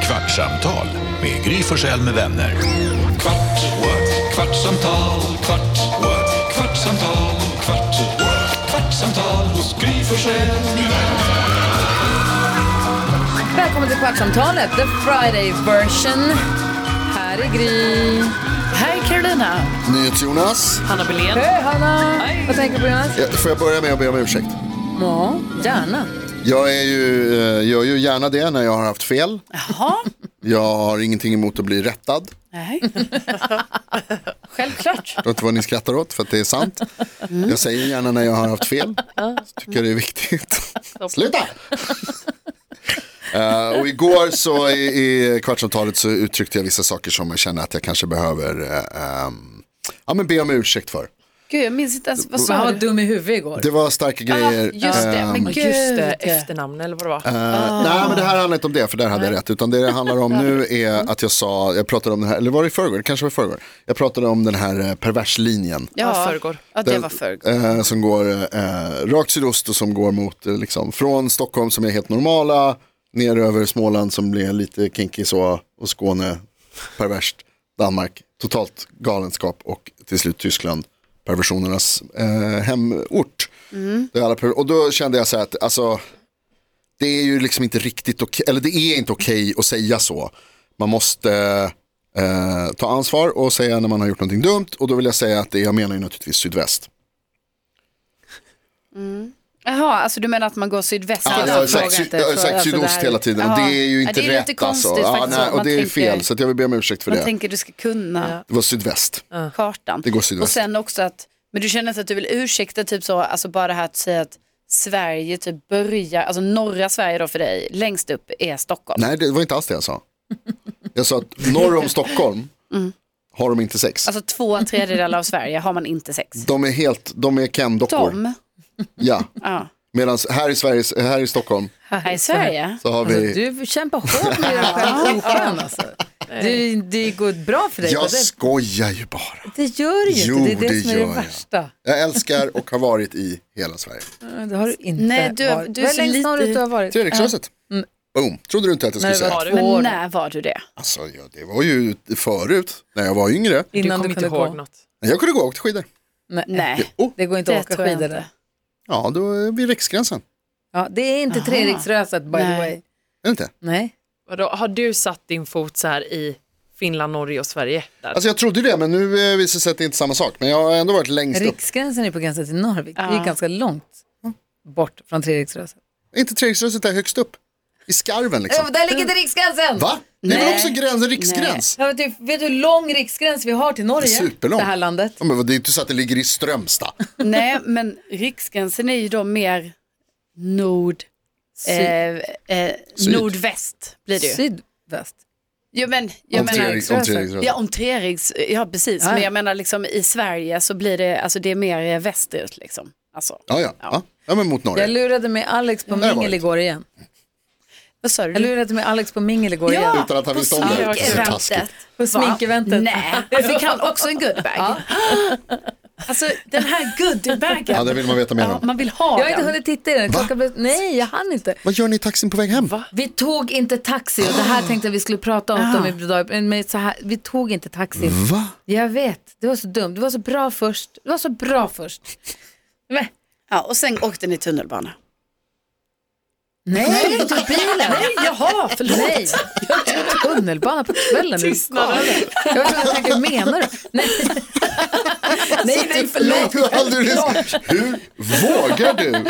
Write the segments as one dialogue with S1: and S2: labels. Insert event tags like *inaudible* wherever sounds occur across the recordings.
S1: Kvartsamtal med Gry Forssell med vänner. Kvart, what? kvartsamtal, kvart, what? kvartsamtal, kvart, what? kvartsamtal, Gry Forssell med vänner.
S2: Välkommen till Kvartsamtalet, the Friday version. Här är Gry.
S3: Här är Carolina.
S4: NyhetsJonas.
S3: Hanna Belén.
S2: Hej Hanna! Vad tänker du på Jonas?
S4: Ja, Får jag börja med att be om ursäkt?
S2: Ja, gärna.
S4: Jag är ju, eh, gör ju gärna det när jag har haft fel.
S3: Jaha.
S4: Jag har ingenting emot att bli rättad.
S3: Nej. Självklart.
S4: Jag vet inte vad ni skrattar åt för att det är sant.
S3: Mm.
S4: Jag säger gärna när jag har haft fel. Så tycker jag det är viktigt. Sluta! Eh, och igår så i, i kvartsamtalet så uttryckte jag vissa saker som jag känner att jag kanske behöver eh, ehm, ja, men be om ursäkt för.
S3: Gud, jag minns inte ens. Vad
S2: Han
S3: sa
S2: var
S3: du?
S2: dum i huvudet igår.
S4: Det var starka grejer.
S3: Just det,
S4: ehm,
S3: men gud.
S5: Just det, efternamn eller vad det var.
S4: Eh,
S3: Ah.
S4: Nej men det här handlar inte om det för där hade jag rätt. Utan det det handlar
S3: *laughs*
S4: om nu är att jag sa, jag pratade om den här, eller var det i förrgår? Det kanske var i förrgår. Jag pratade om den här eh, perverslinjen.
S5: Ja, förrgår.
S3: Ja, det var förrgår.
S4: Eh, som går eh, rakt sydost och som går mot, eh, liksom, från Stockholm som är helt normala, ner över Småland som blir lite kinky så, och Skåne, perverst, Danmark, totalt galenskap och till slut Tyskland, perversionernas eh, hemort.
S3: Mm.
S4: Det är alla perver- och då kände jag så här att, alltså, det är ju liksom inte riktigt okej, eller det är inte okej att säga så. Man måste eh, eh, ta ansvar och säga när man har gjort någonting dumt och då vill jag säga att det, jag menar ju naturligtvis sydväst.
S3: Jaha, alltså du menar att man går sydväst?
S4: Ja, jag har sagt, syd, jag har sagt sydost hela tiden och
S3: alltså, Jaha.
S4: det är ju inte
S3: Ja, det är
S4: rätt
S3: lite konstigt
S4: alltså. Ja,
S3: faktiskt,
S4: nej,
S3: att
S4: och
S3: man
S4: det är
S3: tänker-
S4: fel så att jag vill be om ursäkt för
S3: Man
S4: det.
S3: tänker du ska kunna
S4: Det var sydväst.
S3: kartan.
S4: Det går
S3: Och
S4: sydväst.
S3: sen också att, men du känner inte att du vill ursäkta typ så, alltså bara det här att säga att Sverige typ börjar, alltså norra Sverige då för dig, längst upp är Stockholm.
S4: Nej, det var inte alls det jag sa. Jag sa att norr om Stockholm har de inte sex.
S3: Mm. Alltså två tredjedelar av Sverige har man inte sex.
S4: De är helt, de är kendockor.
S3: Dom,
S4: Ja,
S3: ja,
S4: medan här i Sverige, här i Stockholm
S3: här i Sverige.
S4: så har
S2: Alltså,
S4: vi
S2: du kämpar hårt med dina stjärnkokan alltså. Du, det går bra för dig.
S4: Jag
S2: Det,
S4: skojar ju bara.
S2: det gör ju
S4: Jo,
S2: inte, det är det,
S4: det
S2: som är det
S4: gör jag.
S2: värsta.
S4: Jag älskar och har varit i hela Sverige.
S2: Det har du inte
S3: Nej, du-
S2: varit.
S3: du
S2: Vad
S3: är
S2: är
S3: så
S2: längst
S3: lite-
S2: norrut du har
S4: Typ-
S2: varit?
S4: Treriksröset. Boom. Trodde du inte att jag skulle
S2: Nej, det
S4: säga.
S2: var-
S5: Har du?
S2: Två år.
S3: Men Mm. när var du det?
S4: Alltså, ja, det var ju förut, när jag var yngre.
S5: Du
S2: Innan du
S5: kommer inte
S2: kunde
S5: ihåg
S2: gå.
S5: något.
S4: Men Jag kunde gå och åka skidor.
S2: Nej.
S3: Nej.
S4: Jo,
S2: Det går inte att
S3: Det
S2: åka
S3: tror jag
S2: skidor
S3: inte.
S2: där.
S4: ja, då är vi riksgränsen.
S2: Ja, det är inte
S3: Aha.
S2: Treriksröset by the
S3: Nej.
S2: way.
S4: Är det inte?
S2: Nej.
S5: Vadå, har du satt din fot så här i Finland, Norge och Sverige? Där?
S4: Alltså jag trodde det, men nu eh, visar det sig att det inte är samma sak. Men jag har ändå varit längst upp.
S2: Riksgränsen är på gränsen till Norrvik. Det är ju
S3: Ja.
S2: ganska långt bort från Treriksröset.
S4: Inte Treriksröset är högst upp. I skarven liksom.
S2: Ja, där ligger
S3: Mm.
S2: inte riksgränsen!
S4: Va? Det är väl
S3: Nej.
S4: också gränsen, riksgräns?
S2: Ja, men typ, vet du hur lång riksgräns vi har till Norge?
S4: Det är superlång.
S2: Det här landet.
S4: Ja, men det är inte så att det ligger i Strömstad.
S3: Nej, men riksgränsen är ju då mer nord, eh, eh,
S4: Syd.
S3: nordväst blir det ju.
S2: Sydväst.
S3: Jo, men, jag
S4: Om
S3: menar,
S4: Treriks- om Treriksröset.
S3: ja, om Treriks, ja precis,
S2: Ja.
S3: men jag menar liksom i Sverige så blir det, alltså det är mer eh, västerut liksom. Alltså,
S4: Ja, ja. ja. ja men mot
S2: Jag
S4: Norge.
S2: lurade med Alex på
S4: har jag
S2: mingel
S4: varit.
S2: igår igen.
S3: vad sa
S2: Jag
S3: du?
S2: lurade med Alex på mingel igår
S3: Ja,
S2: igen.
S4: Utan att han
S3: på
S4: visste om det. Det är så
S3: sminkeventet.
S4: taskigt.
S2: På
S3: Va?
S2: sminkeventet.
S3: *laughs* Nej, fick han också en goodbag? Alltså den här goodiebagen,
S4: Ja, det vill man veta mer
S3: ja,
S4: om.
S3: man vill ha
S2: Jag har inte
S3: den.
S2: hunnit titta i den. Klockan blev... Nej, jag hann inte.
S4: Vad gör ni i taxin på väg hem?
S2: Vi tog inte taxi och det *gasps* här tänkte jag vi skulle prata om dem idag. Men men så här, vi tog inte taxi.
S4: Va?
S2: Jag vet, det var så dumt. Det var så bra först. Det var så bra först. Men,
S3: Ja, och sen åkte ni tunnelbana.
S2: nej, vi tog bilen. Nej, jaha, *laughs* förlåt. Nej, jag tog tunnelbana på kvällen. Tystnaden. Jag var tvungen att tänka, hur menar du?
S3: *laughs*
S2: Nej, nej, nej förlåt.
S4: Hur, aldrig, hur vågar du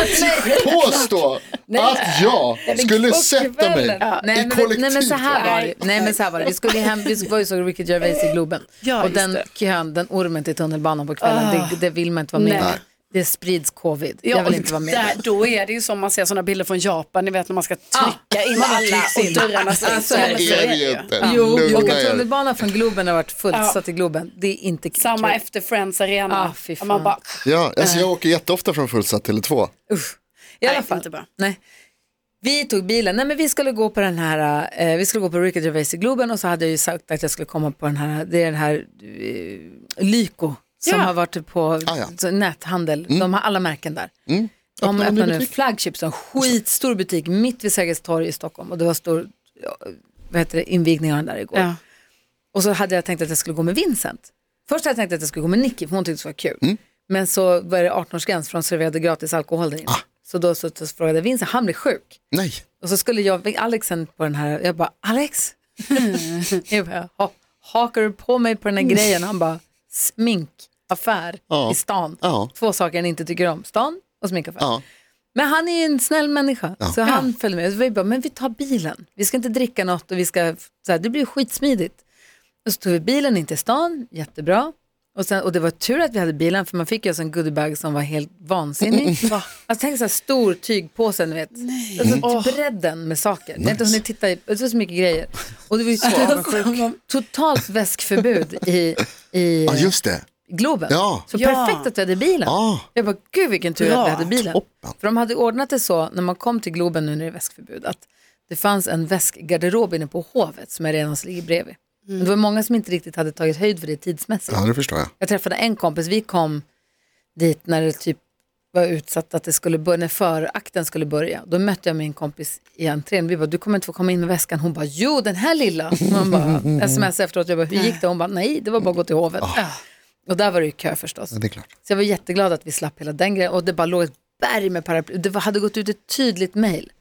S4: påstå att jag skulle
S2: Och
S4: sätta mig
S2: kvällen. Ja.
S4: i
S2: nej, men, nej men så här var det.
S3: Nej.
S2: Nej men så här var det. Vi skulle hem, vi var ju så Ricky Gervais i Globen.
S3: Ja,
S2: och
S3: just
S2: den
S3: det. Ah.
S2: kön, den ormen till tunnelbanan på kvällen, det, det vill man inte vara med om.
S3: Nej.
S2: Det sprids covid. jag vill inte vara med.
S3: Där, då är det ju som man ser sådana bilder från Japan, ni vet när man ska trycka
S2: Ah.
S3: in alla och dörrarna stängs.
S2: Alltså,
S3: Ja,
S4: Det
S3: men
S4: är
S3: så
S4: det
S3: det
S4: ju
S3: ju.
S4: inte.
S2: Jo,
S4: Lugna
S2: och att
S4: er.
S2: tunnelbanan från Globen har varit fullsatt i Globen, det är inte kul.
S3: Samma efter Friends Arena.
S2: Ah, fy
S3: Och man
S2: fan.
S3: bara,
S4: Ja, alltså jag åker jätteofta från fullsatt Tele2.
S2: I alla
S3: Nej,
S2: fall.
S3: inte bra.
S2: Nej. Vi tog bilen, nej men vi skulle gå på den här, eh, vi skulle gå på Ricky Gervais i Globen och så hade jag ju sagt att jag skulle komma på den här, det är den här eh, Lyko som
S3: Ja.
S2: har varit på
S4: Ah, ja. Mm.
S2: så- näthandel, de har alla märken där. De
S4: Öppnar de
S2: öppnar
S4: ny
S2: nu
S4: butik?
S2: Flagship, en skitstor butik mitt vid Sergels torg i Stockholm och det var stor, ja, vad heter det, invigningen av den där igår.
S3: Ja.
S2: Och så hade jag tänkt att jag skulle gå med Vincent. Först hade jag tänkt att jag skulle gå med Nicky för hon tyckte det var kul.
S4: Mm.
S2: Men så var det 18-årsgräns för de serverade gratis alkohol där inne.
S4: Ah.
S2: Så då så, så frågade jag Vincent, han blev sjuk.
S4: Nej.
S2: Och så skulle jag, Alexen på den här, jag bara,
S4: *laughs*
S2: Alex? jag bara, "Ha- hakar du på mig på den här grejen? Han bara, sminkaffär
S4: Mm. Ja.
S2: i stan.
S4: Ja.
S2: Två saker han inte tycker om, stan och sminkaffär.
S4: Ja.
S2: Men han är ju en snäll människa, så han följde med. Så vi bara, men vi tar bilen. Vi ska inte dricka något och vi ska, så här, det blir skitsmidigt. Och så tog vi bilen in till stan, jättebra. Och, sen, och det var tur att vi hade bilen, för man fick ju alltså en goodiebag som var helt
S4: *laughs*
S2: vansinnig. Va? Alltså tänk så här stor tygpåse, ni vet. Alltså till bredden med saker. Jag har inte hunnit titta i, det var så mycket grejer. Och det var ju
S4: *laughs*
S2: så totalt väskförbud i, i
S4: Ja, just det.
S2: Globen.
S4: Ja.
S2: Så
S3: Ja.
S2: perfekt att vi hade bilen.
S4: Ja.
S2: Jag bara, gud vilken tur
S3: Bra.
S2: att vi hade bilen. För de hade ordnat det så när man kom till Globen nu när det är väskförbud att det fanns en väskgarderob inne på Hovet som är redan ligger bredvid. Men det var många som inte riktigt hade tagit höjd för det tidsmässigt.
S4: Ja, det förstår jag.
S2: Jag träffade en kompis, vi kom dit när det typ var utsatt att det skulle börja, när förakten skulle börja. Då mötte jag min kompis i entrén. Vi bara, du kommer inte få komma in med väskan. Hon bara, jo den här lilla. Man bara, sms efteråt, jag bara, hur gick det? Hon bara, nej det var bara att gå till hovet. Och där var det ju kö förstås.
S4: Ja, det är klart.
S2: Så jag var jätteglad att vi slapp hela den grejen och det bara låg ett berg med paraply. Det var- hade gått ut ett tydligt mejl.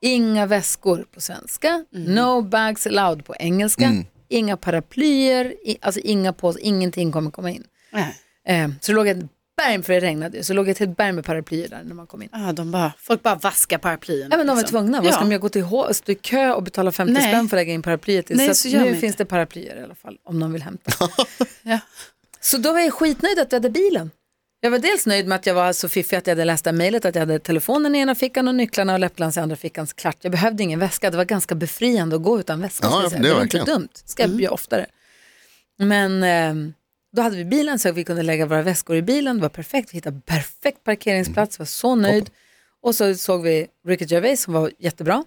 S2: Inga väskor på svenska, no bags allowed på engelska, inga paraplyer, i, alltså inga påsar, ingenting kommer komma in.
S3: Nej.
S2: Eh, så det låg ett berg, för det regnade ju, så det låg ett helt berg med paraplyer där när man kom in.
S3: Ja, Ah, de bara, folk bara vaskar paraplyen.
S2: Ja, men de var
S3: liksom.
S2: tvungna, vad ska
S3: Ja.
S2: de göra? Gå till H- stå i kö och betala 50
S3: Nej.
S2: spänn för att lägga in paraplyet i?
S3: Nej,
S2: så att
S3: så gör
S2: nu
S3: man inte.
S2: finns det paraplyer i alla fall, om någon vill *laughs* hämta.
S3: Ja.
S2: Så då var jag skitnöjd att jag hade bilen. Jag var dels nöjd med att jag var så fiffig att jag hade läst det här mejlet, att jag hade telefonen i ena fickan och nycklarna och läppglans i andra fickan. Så klart, jag behövde ingen väska. Det var ganska befriande att gå utan väska.
S4: Ja,
S2: ska jag
S4: ja,
S2: säga.
S4: det
S2: det var
S4: verkligen. Mm.
S2: inte dumt. ska jag göra oftare. Men eh, då hade vi bilen så vi kunde lägga våra väskor i bilen. Det var perfekt. Vi hittade perfekt parkeringsplats.
S4: Mm.
S2: var så nöjd. Och så såg vi Ricky Gervais som var jättebra.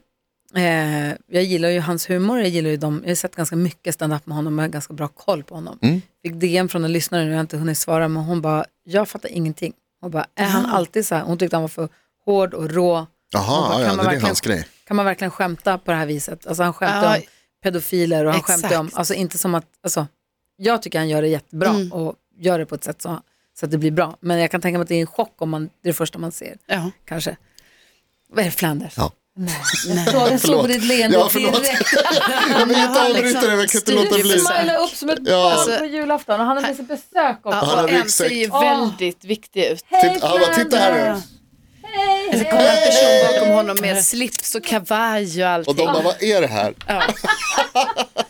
S2: Eh, jag gillar ju hans humor, jag gillar ju dem. Jag har sett ganska mycket stand-up med honom och jag har ganska bra koll på honom.
S4: Mm.
S2: Fick DM från en lyssnare nu, jag har inte hunnit svara, men hon bara, jag fattar ingenting. Hon bara, är han alltid så här? Hon tyckte han var för hård och rå. Hon
S4: Jaha,
S2: bara, kan
S4: ja, ja,
S2: man
S4: det är
S2: verkligen-
S4: hans grej.
S2: Kan man verkligen skämta på det här viset? Alltså han skämtade
S3: Ja,
S2: om pedofiler och han
S3: exakt. Mm.
S2: skämtade om, alltså inte som att, alltså, jag tycker han gör det jättebra och gör det på ett sätt så, så att det blir bra. Men jag kan tänka mig att det är en chock om man, det är det första man ser
S3: Ja.
S2: kanske. Vad är det, Flanders?
S4: Ja.
S2: Nej. Jag såg- såg på ditt leende
S4: Ja, förlåt.
S2: direkt.
S4: Jag vill inte
S3: har
S4: avbryta
S3: liksom
S4: det, men jag kan inte
S3: styrt
S4: låta
S2: Du
S4: bli.
S2: smilade upp som ett
S4: Ja.
S2: barn
S4: Alltså-
S2: på julafton och han hade med sig besök också.
S4: Han hade
S3: Och en ser
S4: ryggsäck.
S3: ju
S2: Åh.
S3: väldigt viktig ut.
S2: Hej
S4: Titta, han bara, titta här nu.
S2: Flanders! Hej,
S3: Kommer en
S2: hej!
S3: person bakom honom med slips och kavaj och allting.
S4: Och de bara, vad är det här?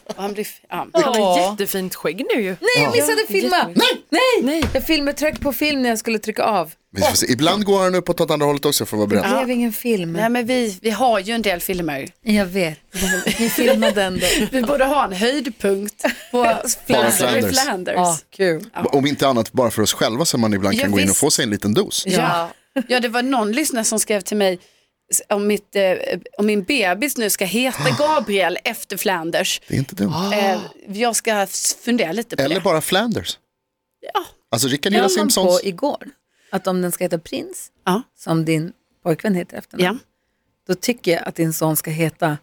S3: Och han blir, ja.
S5: Han har
S3: Ja.
S5: jättefint skägg nu ju.
S2: Nej, jag missade filma! Nej!
S5: Nej.
S2: Jag filmade tryck på film när jag skulle trycka av.
S4: Vi får se. Ibland går han upp och tar åt andra hållet också för att vara
S2: Det
S4: beredd.
S2: blev ingen film.
S3: Nej men vi, vi har ju en del filmer.
S2: Jag vet. Vi filmade den *laughs* då.
S3: Vi borde ha en höjdpunkt på
S4: Flanders.
S3: Flanders. Flanders.
S2: Ja,
S3: Ja.
S2: kul.
S4: Om inte annat bara för oss själva så man ibland
S3: Ja,
S4: kan gå in och
S3: visst.
S4: få sig en liten dos.
S3: Ja. det var någon lyssnare som skrev till mig s- om, mitt, eh, om min bebis nu
S4: *gasps*
S3: ska heta Gabriel efter Flanders.
S4: Det är inte dumt. *gasps*
S3: Eh, jag ska s- fundera lite på
S4: Eller
S3: det.
S4: bara Flanders.
S3: Ja.
S4: Alltså Rickard
S2: Jag
S4: gillar
S2: kom på
S4: Simpsons.
S2: igår att om den ska heta Prins,
S3: Ja.
S2: som din pojkvän heter efter
S4: Mm.
S3: Ja.
S2: då tycker jag att din son ska heta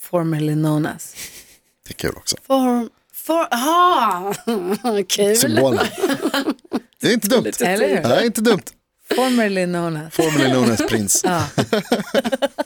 S2: formerly known as.
S4: Det är kul också.
S3: Form, for, aha, *laughs* kul.
S4: Symbolen. Det är inte dumt.
S2: Eller hur?
S4: Nej, inte dumt.
S2: Formerly known as.
S4: Formerly known as prins. *laughs*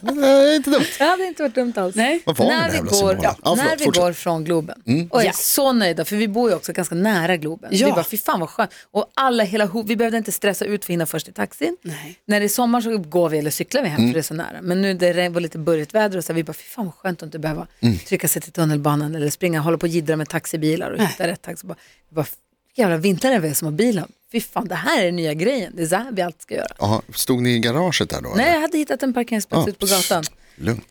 S4: Nej, inte dumt.
S2: Det hade inte varit dumt alls.
S3: Nej.
S4: Vad var
S2: när
S4: den
S2: vi,
S4: jävla
S2: går,
S4: symbolen?
S2: ja,
S4: Ja,
S2: när
S4: förlåt,
S2: vi
S4: fortsätt. Mm.
S2: går från Globen och är
S3: Ja.
S2: så nöjda för vi bor ju också ganska nära Globen.
S3: Ja.
S2: Vi bara, fy fan vad skönt. Och alla, hela, ho- vi behövde inte stressa ut för att hinna först i taxin.
S3: Nej.
S2: När det är sommar så går vi eller cyklar vi hem
S4: Mm.
S2: för det är så nära. Men nu det regn- var lite burrigt väder och så här, vi bara, fy fan vad skönt att inte behöva
S4: Mm.
S2: trycka sig till tunnelbanan eller springa, hålla på och jiddra med taxibilar och hitta rätt taxi. Bara, vi bara, "Vilka jävla vintrar vi är som har bilen. Fy fan, det här är den nya grejen. Det är så här vi alltid ska göra.
S4: Jaha, stod ni i garaget där då?
S2: Nej,
S4: eller?
S2: jag hade hittat en parkeringsplats
S4: Ja.
S2: ute på gatan.
S4: Lugnt.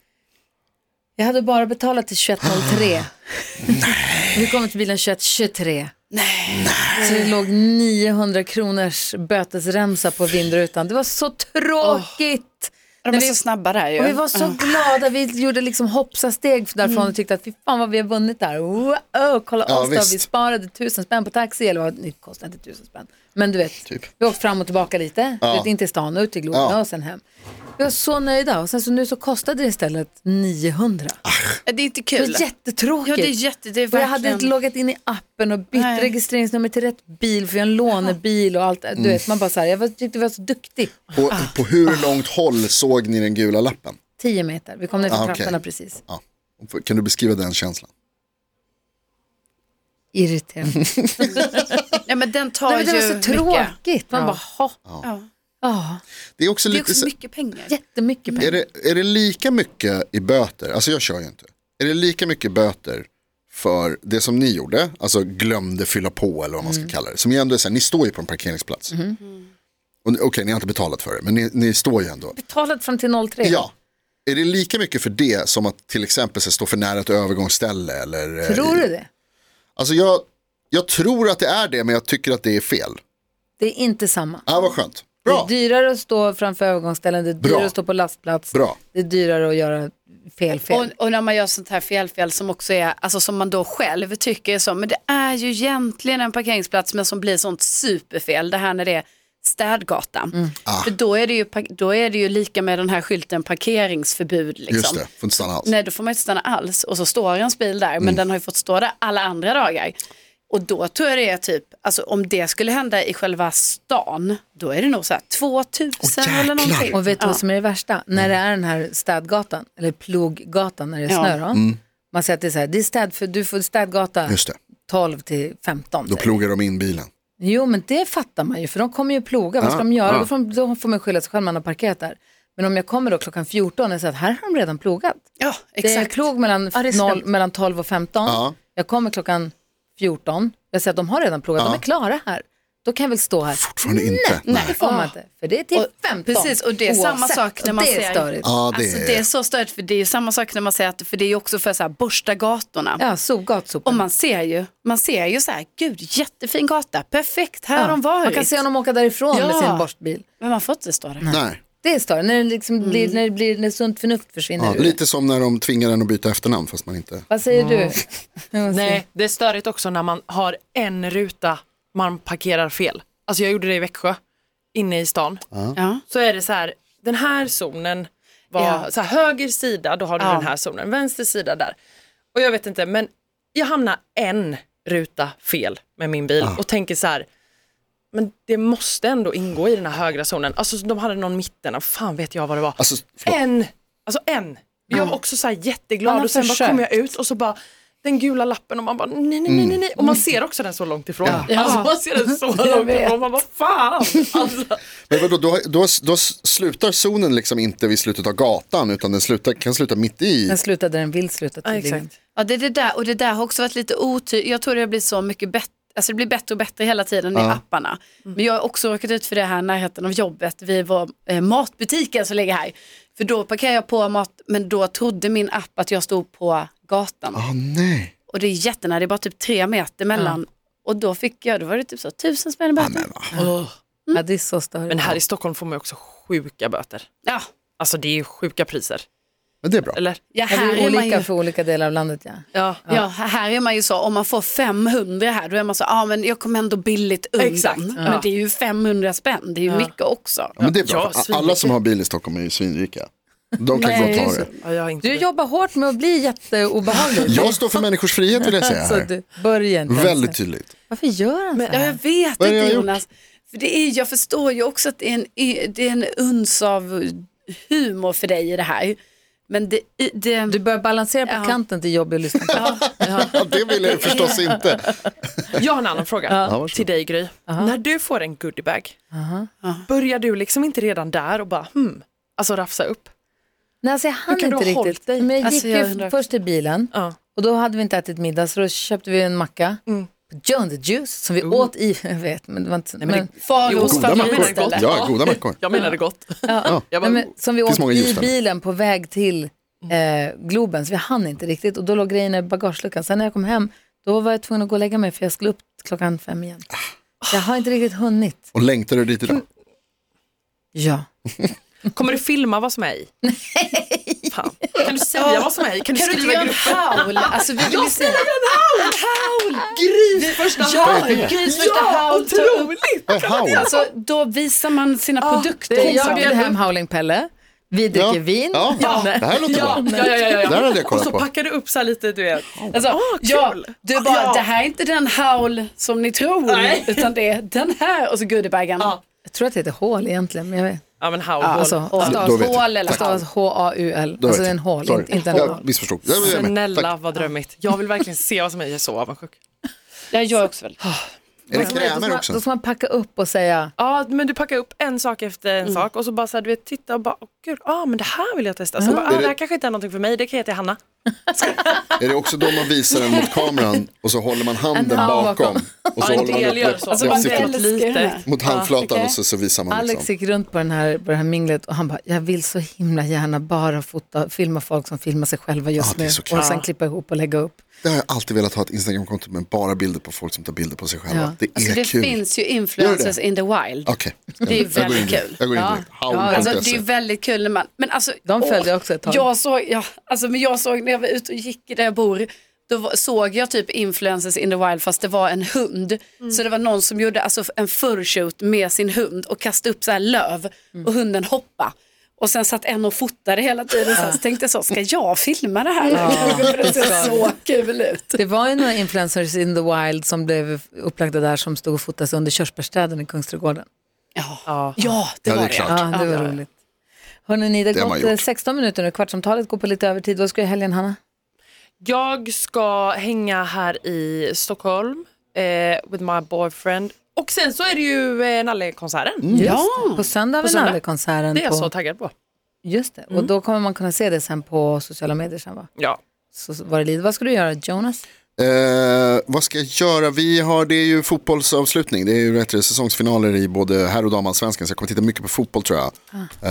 S2: Jag hade bara betalat till
S4: *gasps*
S2: 21.03. Vi kommer till bilen 21.23. Nej. Så det låg 900 kronors bötesremsa på vindrutan. Det var så tråkigt.
S3: De är så snabba där ju.
S2: Och vi var så glada. Vi gjorde liksom hoppsasteg därifrån och tyckte att fy fan vad vi har vunnit där. Wow, kolla
S4: Mm. Ja,
S2: oss då. Vi
S4: visst.
S2: sparade tusen spänn på taxi. Eller vad, det kostade inte tusen spänn. Men du vet,
S4: Typ.
S2: vi åkte fram och tillbaka lite,
S4: Ja.
S2: du vet, in till stan och ut till Globen
S4: Ja.
S2: och sen hem. Vi var så nöjda och sen så nu så kostade det istället 900.
S3: Det är inte
S2: det
S3: kul.
S2: var jättetråkigt.
S3: Ja, det är jätte, det är
S2: och jag hade
S3: verkligen-
S2: inte loggat in i appen och bytt
S3: Nej.
S2: registreringsnummer till rätt bil för jag har en lånebil och allt. Du
S4: Mm.
S2: vet, man bara så här, jag var- tyckte vi var så duktig.
S4: På, på hur långt håll såg ni den gula lappen?
S2: 10 meter, vi kom ner till
S4: Ah, okej.
S2: trapporna precis.
S4: Ja. Kan du beskriva den känslan?
S2: Irriterande.
S3: *laughs* Nej, men den tar
S2: Nej, men det var
S3: ju
S2: så tråkigt. Man
S5: Ja.
S2: bara, ha.
S3: mycket. Ja.
S2: Ja,
S4: Det är också
S3: Det är
S4: lite...
S3: också
S4: så-
S3: mycket pengar.
S2: jättemycket pengar.
S4: Är det, är det lika mycket i böter, alltså jag kör ju inte, är det lika mycket böter för det som ni gjorde, alltså glömde fylla på eller vad man ska kalla det, som ju ändå är så här, ni står ju på en parkeringsplats. Och Okej, ni har inte betalat för det, men ni, ni står ju ändå.
S2: Betalat fram till 03.
S4: Ja, är det lika mycket för det som att till exempel så här, stå för nära ett övergångsställe eller? eh,
S2: Tror du det?
S4: Alltså jag, jag tror att det är det, men jag tycker att det är fel.
S2: Det är inte samma.
S4: Ja, ah, vad skönt.
S2: Det
S4: Bra,
S2: är dyrare att stå framför övergångsställen, det är
S4: Bra.
S2: dyrare att stå på lastplats,
S4: bra.
S2: det är dyrare att göra fel fel.
S3: Och, och när man gör sånt här felfel som också är, alltså som man då själv tycker är så, men det är ju egentligen en parkeringsplats men som blir sånt superfel, det här när det är städgata.
S4: Mm.
S3: För då är, det ju, park- då är det ju lika med den här skylten parkeringsförbud liksom.
S4: Just det, får inte stanna alls.
S3: Nej, då får man inte stanna alls och så står ens bil där, men
S4: Mm.
S3: den har ju fått stå där alla andra dagar. Och då tror jag det är typ, alltså om det skulle hända i själva stan, då är det nog så här 2000
S4: Åh,
S3: eller
S4: jäklar.
S3: någonting.
S2: Och vet du
S3: ja.
S2: vad som är det värsta? När det är den här städgatan, eller ploggatan när det är
S3: Ja.
S2: snö då. Man säger att det är så här, det är städ för, du får städgata
S4: Mm. Just det,
S2: 12 till 15.
S4: då
S2: säger
S4: plogar de in bilen.
S2: Jo, men det fattar man ju, för de kommer ju ploga. Vad ska
S4: Ja,
S2: de göra?
S4: ja.
S2: Då, får de, då får man skylla sig själv, man har parkerat där. Men om jag kommer då klockan 14 och säger att här har de redan plogat.
S3: ja,
S2: Det är
S3: exakt.
S2: plog mellan,
S5: det är
S2: noll,
S5: sant.
S2: mellan 12 och 15.
S4: Ja.
S2: Jag kommer klockan 14. Jag ser att de har redan plogat, de är klara här. Då kan jag väl stå här.
S4: Fortfarande inte.
S2: Nej, det får man inte. För det är till
S3: Och-
S2: 15.
S3: precis, och det är samma sak när
S2: och
S3: man
S2: det är
S3: ser-
S2: störigt.
S4: Ja, det
S3: alltså,
S4: är...
S3: det är så störigt för det är ju samma sak när man säger att, för det är ju också för så här, borsta gatorna.
S2: Ja, so,
S3: Och
S2: gatsoporna.
S3: man ser ju, man ser ju så här, gud jättefin gata, perfekt, här
S2: Ja,
S3: har de varit.
S2: Man kan se honom åka därifrån med
S3: Ja.
S2: sin borstbil.
S3: Men man får inte stå där.
S4: Nej.
S2: Det är större, när det, liksom
S3: Mm.
S2: blir, när det blir när sunt förnuft försvinner
S4: Ja,
S2: ur det.
S4: lite som när de tvingar en att byta efternamn fast man inte...
S2: Vad säger *laughs* du?
S5: Nej, det är störigt också när man har en ruta man parkerar fel. Alltså jag gjorde det i Växjö, inne i stan.
S3: Ja.
S5: Så är det så här, den här zonen var
S3: Ja.
S5: så här, höger sida, då har du
S3: Ja.
S5: den här zonen, vänster sida där. Och jag vet inte, men jag hamnar en ruta fel med min bil och tänker så här, men det måste ändå ingå i den här högra zonen. Alltså de hade någon mitten, och fan vet jag vad det var.
S4: Alltså, förlåt.
S5: En, alltså en. Jag var också så här
S2: Man
S5: jätteglad
S2: har
S5: och sen bara
S2: försökt.
S5: kom jag ut och så bara den gula lappen och man bara nej, nej, nej, nej, nej. Och man ser också den så långt ifrån. Alltså man ser den så långt
S2: vet.
S5: ifrån. Man bara fan. Alltså,
S4: Men vadå, då, då, då slutar zonen liksom inte vid slutet av gatan utan den slutar, kan sluta mitt i.
S2: Den slutade där den vill sluta tydligen.
S3: Ja, det är det där. Och det där har också varit lite otydligt. Jag tror det har blivit så mycket bättre. Alltså det blir bättre och bättre hela tiden i apparna. Men jag har också råkat ut för det här i närheten av jobbet vid vår eh, matbutiken som ligger här. För då parkerar jag på mat, men då trodde min app att jag stod på gatan.
S4: Ah, nej.
S3: Och det är jättenära, det är bara typ tre meter mellan. Och då fick jag, då var det typ så tusen spänn i böter.
S2: Ja,
S3: Mm.
S2: det är så störigt.
S5: Men här i Stockholm får man ju också sjuka böter.
S3: Ja,
S5: Alltså det är ju sjuka priser.
S4: Men det är bra.
S5: Eller?
S3: ja,
S2: Ja,
S3: här
S2: det är
S3: är man
S2: olika
S3: ju,
S2: för olika delar av landet ja.
S5: Ja.
S3: ja, här är man ju så, om man får 500 här, då är man så, ja ah, men jag kommer ändå billigt undan.
S5: Exakt, ja.
S3: Men det är ju 500 spänn, det är ju mycket också.
S4: Ja, men det är bra.
S5: Ja,
S4: för
S5: svinrika.
S4: Alla som har bil i Stockholm är ju svinrika. De kan
S2: Nej,
S4: inte ta
S2: just
S4: det.
S5: Ja, jag har inte
S2: Du jobbar hårt med att bli
S4: *laughs*
S2: jätteobehaglig.
S4: Jag står för människors frihet vill jag säga
S2: Alltså,
S4: här.
S2: du, börja inte ens.
S4: Väldigt tydligt.
S2: Varför gör han så
S3: Ja,
S2: här?
S3: jag vet
S4: Vad är det jag
S3: inte
S4: har
S3: Jonas. För det är, jag förstår ju också att det är, en, y- det är en uns av humor för dig i det här. Men det... i- det
S2: Du börjar balansera på
S3: Ja.
S2: kanten till jobbig och lyssna på.
S3: ja,
S4: Ja, det vill jag ju förstås inte.
S5: Jag har en annan fråga
S4: varsågod.
S5: till dig Gry. När du får en goodiebag, börjar du liksom inte redan där och bara hmm, alltså rafsa upp?
S2: Nej, alltså jag hann
S5: Hur kan du
S2: inte
S5: ha hållit
S2: riktigt.
S5: dig?
S2: Men jag
S3: Alltså,
S2: gick
S3: jag
S2: ju
S3: undrar också.
S2: först till bilen
S5: Ja.
S2: och då hade vi inte ätit middag så då köpte vi en macka. Mm. John the Juice som vi åt i, *laughs* jag vet men det var inte så. men,
S3: Faros
S4: Goda
S3: favorit
S4: mackor.
S3: istället.
S4: Ja, goda mackor.
S5: Jag menade gott.
S2: ja,
S5: Jag bara,
S2: nej, men, som vi
S4: finns
S2: åt
S4: många
S2: i
S4: ljus där.
S2: bilen på väg till eh, Globen så vi hann inte riktigt och då låg grejen i bagageluckan. Sen när jag kom hem då var jag tvungen att gå och lägga mig för jag skulle upp klockan fem igen.
S4: Ah.
S2: Jag har inte riktigt hunnit.
S4: Och längtar du dit idag?
S2: Ja.
S5: Kommer du filma vad som är i? Fan. Kan du säga säga vad som helst. Kan du
S3: Kan du inte
S5: skriva
S3: göra
S5: i
S3: en
S5: gruppen?
S3: howl? Alltså, vi vill ju se.
S5: Gris första
S3: Ja,
S4: det?
S3: Gris första
S5: Ja,
S3: howl.
S5: otroligt! Ah,
S4: Vad är howl?
S3: Alltså, då visar man sina produkter.
S2: Det är jag
S3: Så-
S2: bjöd hem Howling-Pelle. Vi dricker vin.
S4: Ja.
S2: Ja.
S4: Det här låter bra.
S5: Ja, ja, ja, ja.
S4: Där hade jag
S5: Och
S4: kollat
S5: så
S4: på.
S5: packar du upp så här lite, du vet.
S3: Alltså,
S5: Ah, kul.
S3: ja, du bara,
S5: Ja.
S3: det här är inte den howl som ni tror,
S5: Nej.
S3: utan det är den här och så goodiebaggen.
S5: Ja.
S2: Jag tror att det heter hål egentligen, men jag vet.
S5: Ja men how
S2: Alltså,
S3: Och
S2: stavas-
S4: Då vet jag.
S3: hål eller
S4: Tack.
S3: howl.
S2: stavas H-A-U-L.
S4: Då
S2: Alltså
S4: vet
S2: det är en
S4: jag.
S2: hål,
S4: Sorry.
S2: inte, inte en
S4: Jag
S2: hål.
S4: missförstod. Jag är med.
S5: Snälla
S4: Tack.
S5: vad drömmigt. Jag vill verkligen se vad som är. Jag är så avundsjuk.
S3: Jag gör också väl.
S4: Är det
S2: Då ska man-
S4: krämer
S2: Då
S4: också?
S2: ska man packa upp och säga,
S5: Ja men du packar upp en sak efter en sak och så bara så här, du vet titta och bara åh gud, ah, men det här vill jag testa. Så bara, ah,
S4: det-
S5: det här kanske inte är någonting för mig, det kan jag ge till Hanna.
S4: Är det också då man visar den mot kameran och så håller man handen
S2: hand
S4: bakom? Och så
S5: Ja, en
S4: håller man
S5: del gör
S4: upp
S5: så.
S4: det-
S5: Alltså,
S4: det
S5: man
S4: sitter
S5: väljer-
S4: mot handflatan
S3: okej.
S4: och så, så visar man
S2: Alex
S4: liksom.
S2: gick runt på, den här, på det här minglet och han bara, jag vill så himla gärna bara fota, filma folk som filmar sig själva just
S4: Ja, det är
S2: nu
S4: så kul.
S2: och sen klippa ihop och lägga upp.
S4: Det har jag alltid velat ha ett Instagramkonto med bara bilder på folk som tar bilder på sig själva.
S2: Ja.
S4: Det är
S3: Alltså, det
S4: kul.
S3: finns ju influencers
S4: Gör
S3: in the wild.
S4: Okej,
S3: Det är ju
S4: jag går in
S3: väldigt
S4: direkt.
S3: kul.
S4: Jag går in
S2: Ja.
S4: direkt. Howl.se.
S2: Ja,
S3: Alltså, det är ju väldigt kul när man, men alltså,
S2: De
S3: åh,
S2: följde jag också ett tag.
S3: Jag såg, ja, alltså, men jag såg när jag var ute och gick där jag bor, då var- såg jag typ influencers in the wild fast det var en hund.
S2: Mm.
S3: Så det var någon som gjorde alltså, en furshoot med sin hund och kastade upp så här löv
S2: Mm.
S3: och hunden hoppa. Och sen satt en och fotade hela tiden. Så, så tänkte jag så, ska jag filma det här? För *laughs* det ser så kul ut.
S2: Det var ju några influencers in the wild som blev upplagda där som stod och fotades under körsbärsträden i Kungsträdgården.
S5: Ja.
S3: Ja, det
S4: Ja, det
S3: var
S4: är
S3: det.
S4: klart.
S2: Ja, det var roligt. Hörrni, ni, det
S4: Det har
S2: har
S4: man
S2: gått
S4: gjort.
S2: 16 minuter nu, kvartsamtalet går på lite övertid. Vad ska du i helgen, Hanna?
S5: Jag ska hänga här i Stockholm eh, with my boyfriend. Och sen så är det ju eh, Nalle-konserten.
S4: Mm.
S3: Ja.
S2: På söndag har vi
S5: söndag.
S2: Nallekonserten.
S5: Det är jag
S2: på-
S5: så taggad på.
S2: Just det, och då kommer man kunna se det sen på sociala medier sen va?
S5: Ja.
S2: Så var det lider. Vad ska du göra Jonas?
S4: Eh, vad ska jag göra? Vi har, det är ju fotbollsavslutning. Det är ju rätt, säsongsfinaler i både herr och damallsvenskan. Så jag kommer titta mycket på fotboll tror jag.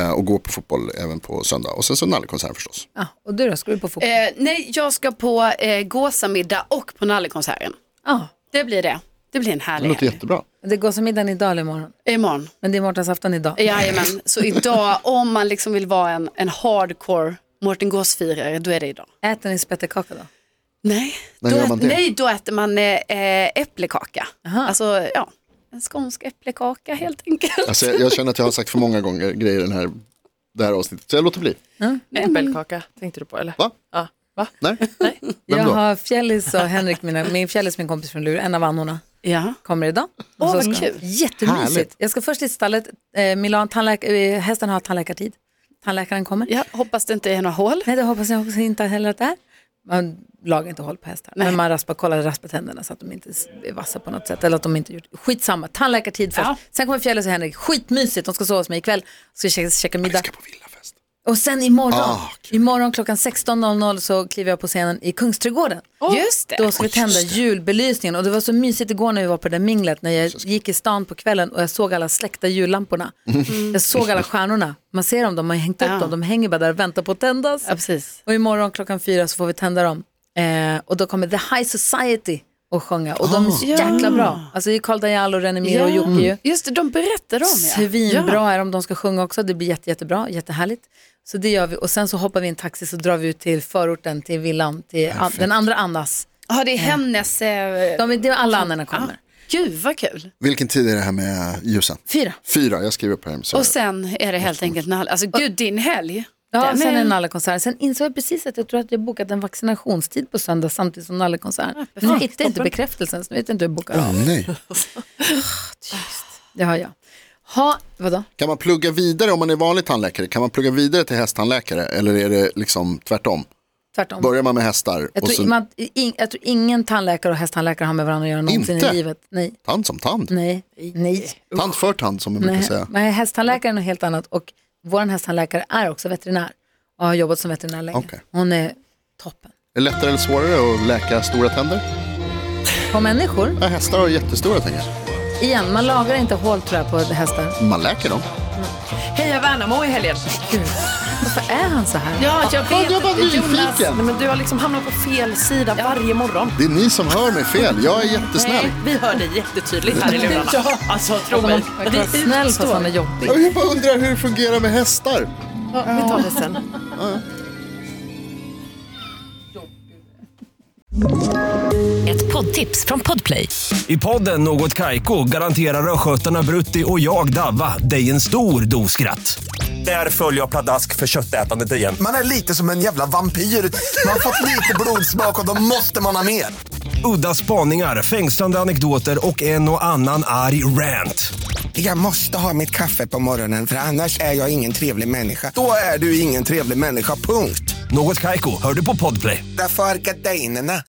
S4: Eh, och gå på fotboll även på söndag. Och sen så nallekonsert förstås.
S2: Ja, och du då, ska du på fotboll?
S3: Eh, nej, jag ska på eh, gåsamiddag och på Nallekonserten.
S2: Ja,
S3: Det blir det. Det blir en
S4: Det
S3: härlig
S4: låter
S3: helg.
S4: jättebra.
S2: det går som middagen idag eller imorgon.
S3: Imorgon. Eh,
S2: Men det är mårtensafton idag.
S3: Jajamän, så
S4: *laughs*
S3: idag om man liksom vill vara en, en hardcore Mårten Gåsfirare, då är det idag.
S2: Äter ni spettekaka då?
S3: Nej,
S4: När
S3: då,
S4: gör man det?
S3: nej då äter man eh, eh, äpplekaka. Alltså ja, en skånsk äpplekaka helt
S4: *laughs*
S3: enkelt.
S4: Alltså, jag, jag känner att jag har sagt för många gånger grejer i den här, det här avsnittet. Så jag låter bli.
S5: Äppelkaka tänkte du på eller?
S4: Va?
S5: Ja.
S4: Nej?
S5: Nej.
S4: Vem
S2: jag
S4: då?
S2: har Fjällis och Henrik, mina, min Fjällis min kompis från Luleå, en av annorna,
S3: Ja.
S2: kommer idag.
S3: Åh,
S2: Och så
S3: vad
S2: ska-
S3: kul.
S2: Jättemysigt.
S4: Härligt.
S2: Jag ska först till stallet, eh, Milan, tandläk- eh, hästen har tandläkartid. Tandläkaren kommer.
S3: ja, hoppas det inte är några hål.
S2: Nej, det hoppas jag också inte heller att det är. Man lagar inte håll på hästar, men man raspar, kollar raspatänderna så att de inte är vassa på något sätt. Eller att de inte gjort, skitsamma, tandläkartid först.
S3: Ja.
S2: Sen kommer Fjällis och Henrik, skitmysigt, de ska sova hos mig ikväll, ska käka, käka middag.
S4: Jag ska på villafest.
S2: Och sen imorgon,
S4: Ah,
S2: imorgon klockan 16.00 så kliver jag på scenen i Kungsträdgården.
S3: Just det.
S2: Då ska vi tända julbelysningen och det var så mysigt igår när vi var på det där minglet när jag gick i stan på kvällen och jag såg alla släckta jullamporna. Jag såg alla stjärnorna, man ser dem, de har hängt upp
S3: Mm. Ja.
S2: dem, de hänger bara där och väntar på att tändas.
S3: Ja, precis.
S2: Och imorgon klockan fyra så får vi tända dem. Eh, och då kommer The High Society och sjunga och de är så jäkla bra. Alltså det är Karl Dajal och René Mir och Jocke ju.
S3: Just det, de berättade om Mm. ja.
S2: Svinbra är de, de ska sjunga också, det blir jätte, jättebra, jättehärligt. Så det gör vi och sen så hoppar vi i en taxi så drar vi ut till förorten, till villan, till an- den andra Annas.
S3: Ja, Ja, det är hennes... Eh,
S2: De, är- det är alla Annorna kommer.
S3: Gud vad kul.
S4: Vilken tid är det här med ljusen?
S2: Fyra.
S4: Fyra, jag skriver upp här. liksom, Så
S3: Och sen är det helt enkelt Nalle. Alltså gud, din helg.
S2: Ja,
S3: Den
S2: sen
S3: är-
S2: är Nallekonserten. Sen insåg jag precis att jag tror att jag bokat en vaccinationstid på söndag samtidigt som Nallekonserten. Men jag hittade inte bekräftelsen, så nu vet jag inte hur jag bokar av.
S4: Åh, Ah, nej.
S2: Det har jag. Ha, vadå?
S4: Kan man plugga vidare om man är vanlig tandläkare? Kan man plugga vidare till hästtandläkare? Eller är det liksom tvärtom?
S2: Tvärtom.
S4: Börjar man med hästar
S2: Jag
S4: och
S2: tror,
S4: sen
S2: man, in, jag tror ingen tandläkare och hästtandläkare har med varandra att göra någonsin
S4: Inte?
S2: i livet. Nej,
S4: tand som tand?
S2: nej, nej.
S4: Tand för tand som man brukar
S2: nej.
S4: säga.
S2: nej hästtandläkare är något helt annat och vår hästtandläkare är också veterinär och har jobbat som veterinär länge.
S4: Okej.
S2: Hon är toppen.
S4: Är det lättare eller svårare att läka stora tänder?
S2: På människor,
S4: Ja, hästar har jättestora tänder.
S2: igen, man lagar inte hål tror jag på hästar.
S4: Man läker dem.
S5: Heja Värnamo i helgen.
S2: Varför är han så här?
S3: Ja, jag vet
S4: Jag var
S3: inte. Jonas,
S5: Nej,
S4: nyfiken.
S5: men du har liksom hamnat på fel sida varje morgon.
S4: Det är ni som hör mig fel. Jag är jättesnäll.
S5: vi hör dig jättetydligt här i *laughs* lurarna. Alltså tro mig.
S2: Man kan vara snäll fast han är jobbig.
S4: Jag bara undrar hur det fungerar med hästar.
S5: Vi tar det sen.
S6: Ett poddtips från Podplay.
S7: I podden Något Kaiko garanterar östgötarna Brutti och jag, Davva, dig en stor dos skratt. Där följer jag pladask för köttätandet igen.
S8: Man är lite som en jävla vampyr. Man har fått lite blodsmak och då måste man ha mer.
S7: Udda spaningar, fängslande anekdoter och en och annan arg rant.
S9: Jag måste ha mitt kaffe på morgonen för annars är jag ingen trevlig människa.
S8: Då är du ingen trevlig människa, punkt.
S7: Något Kaiko, hör du på Podplay.
S9: Därför arkadeinerna.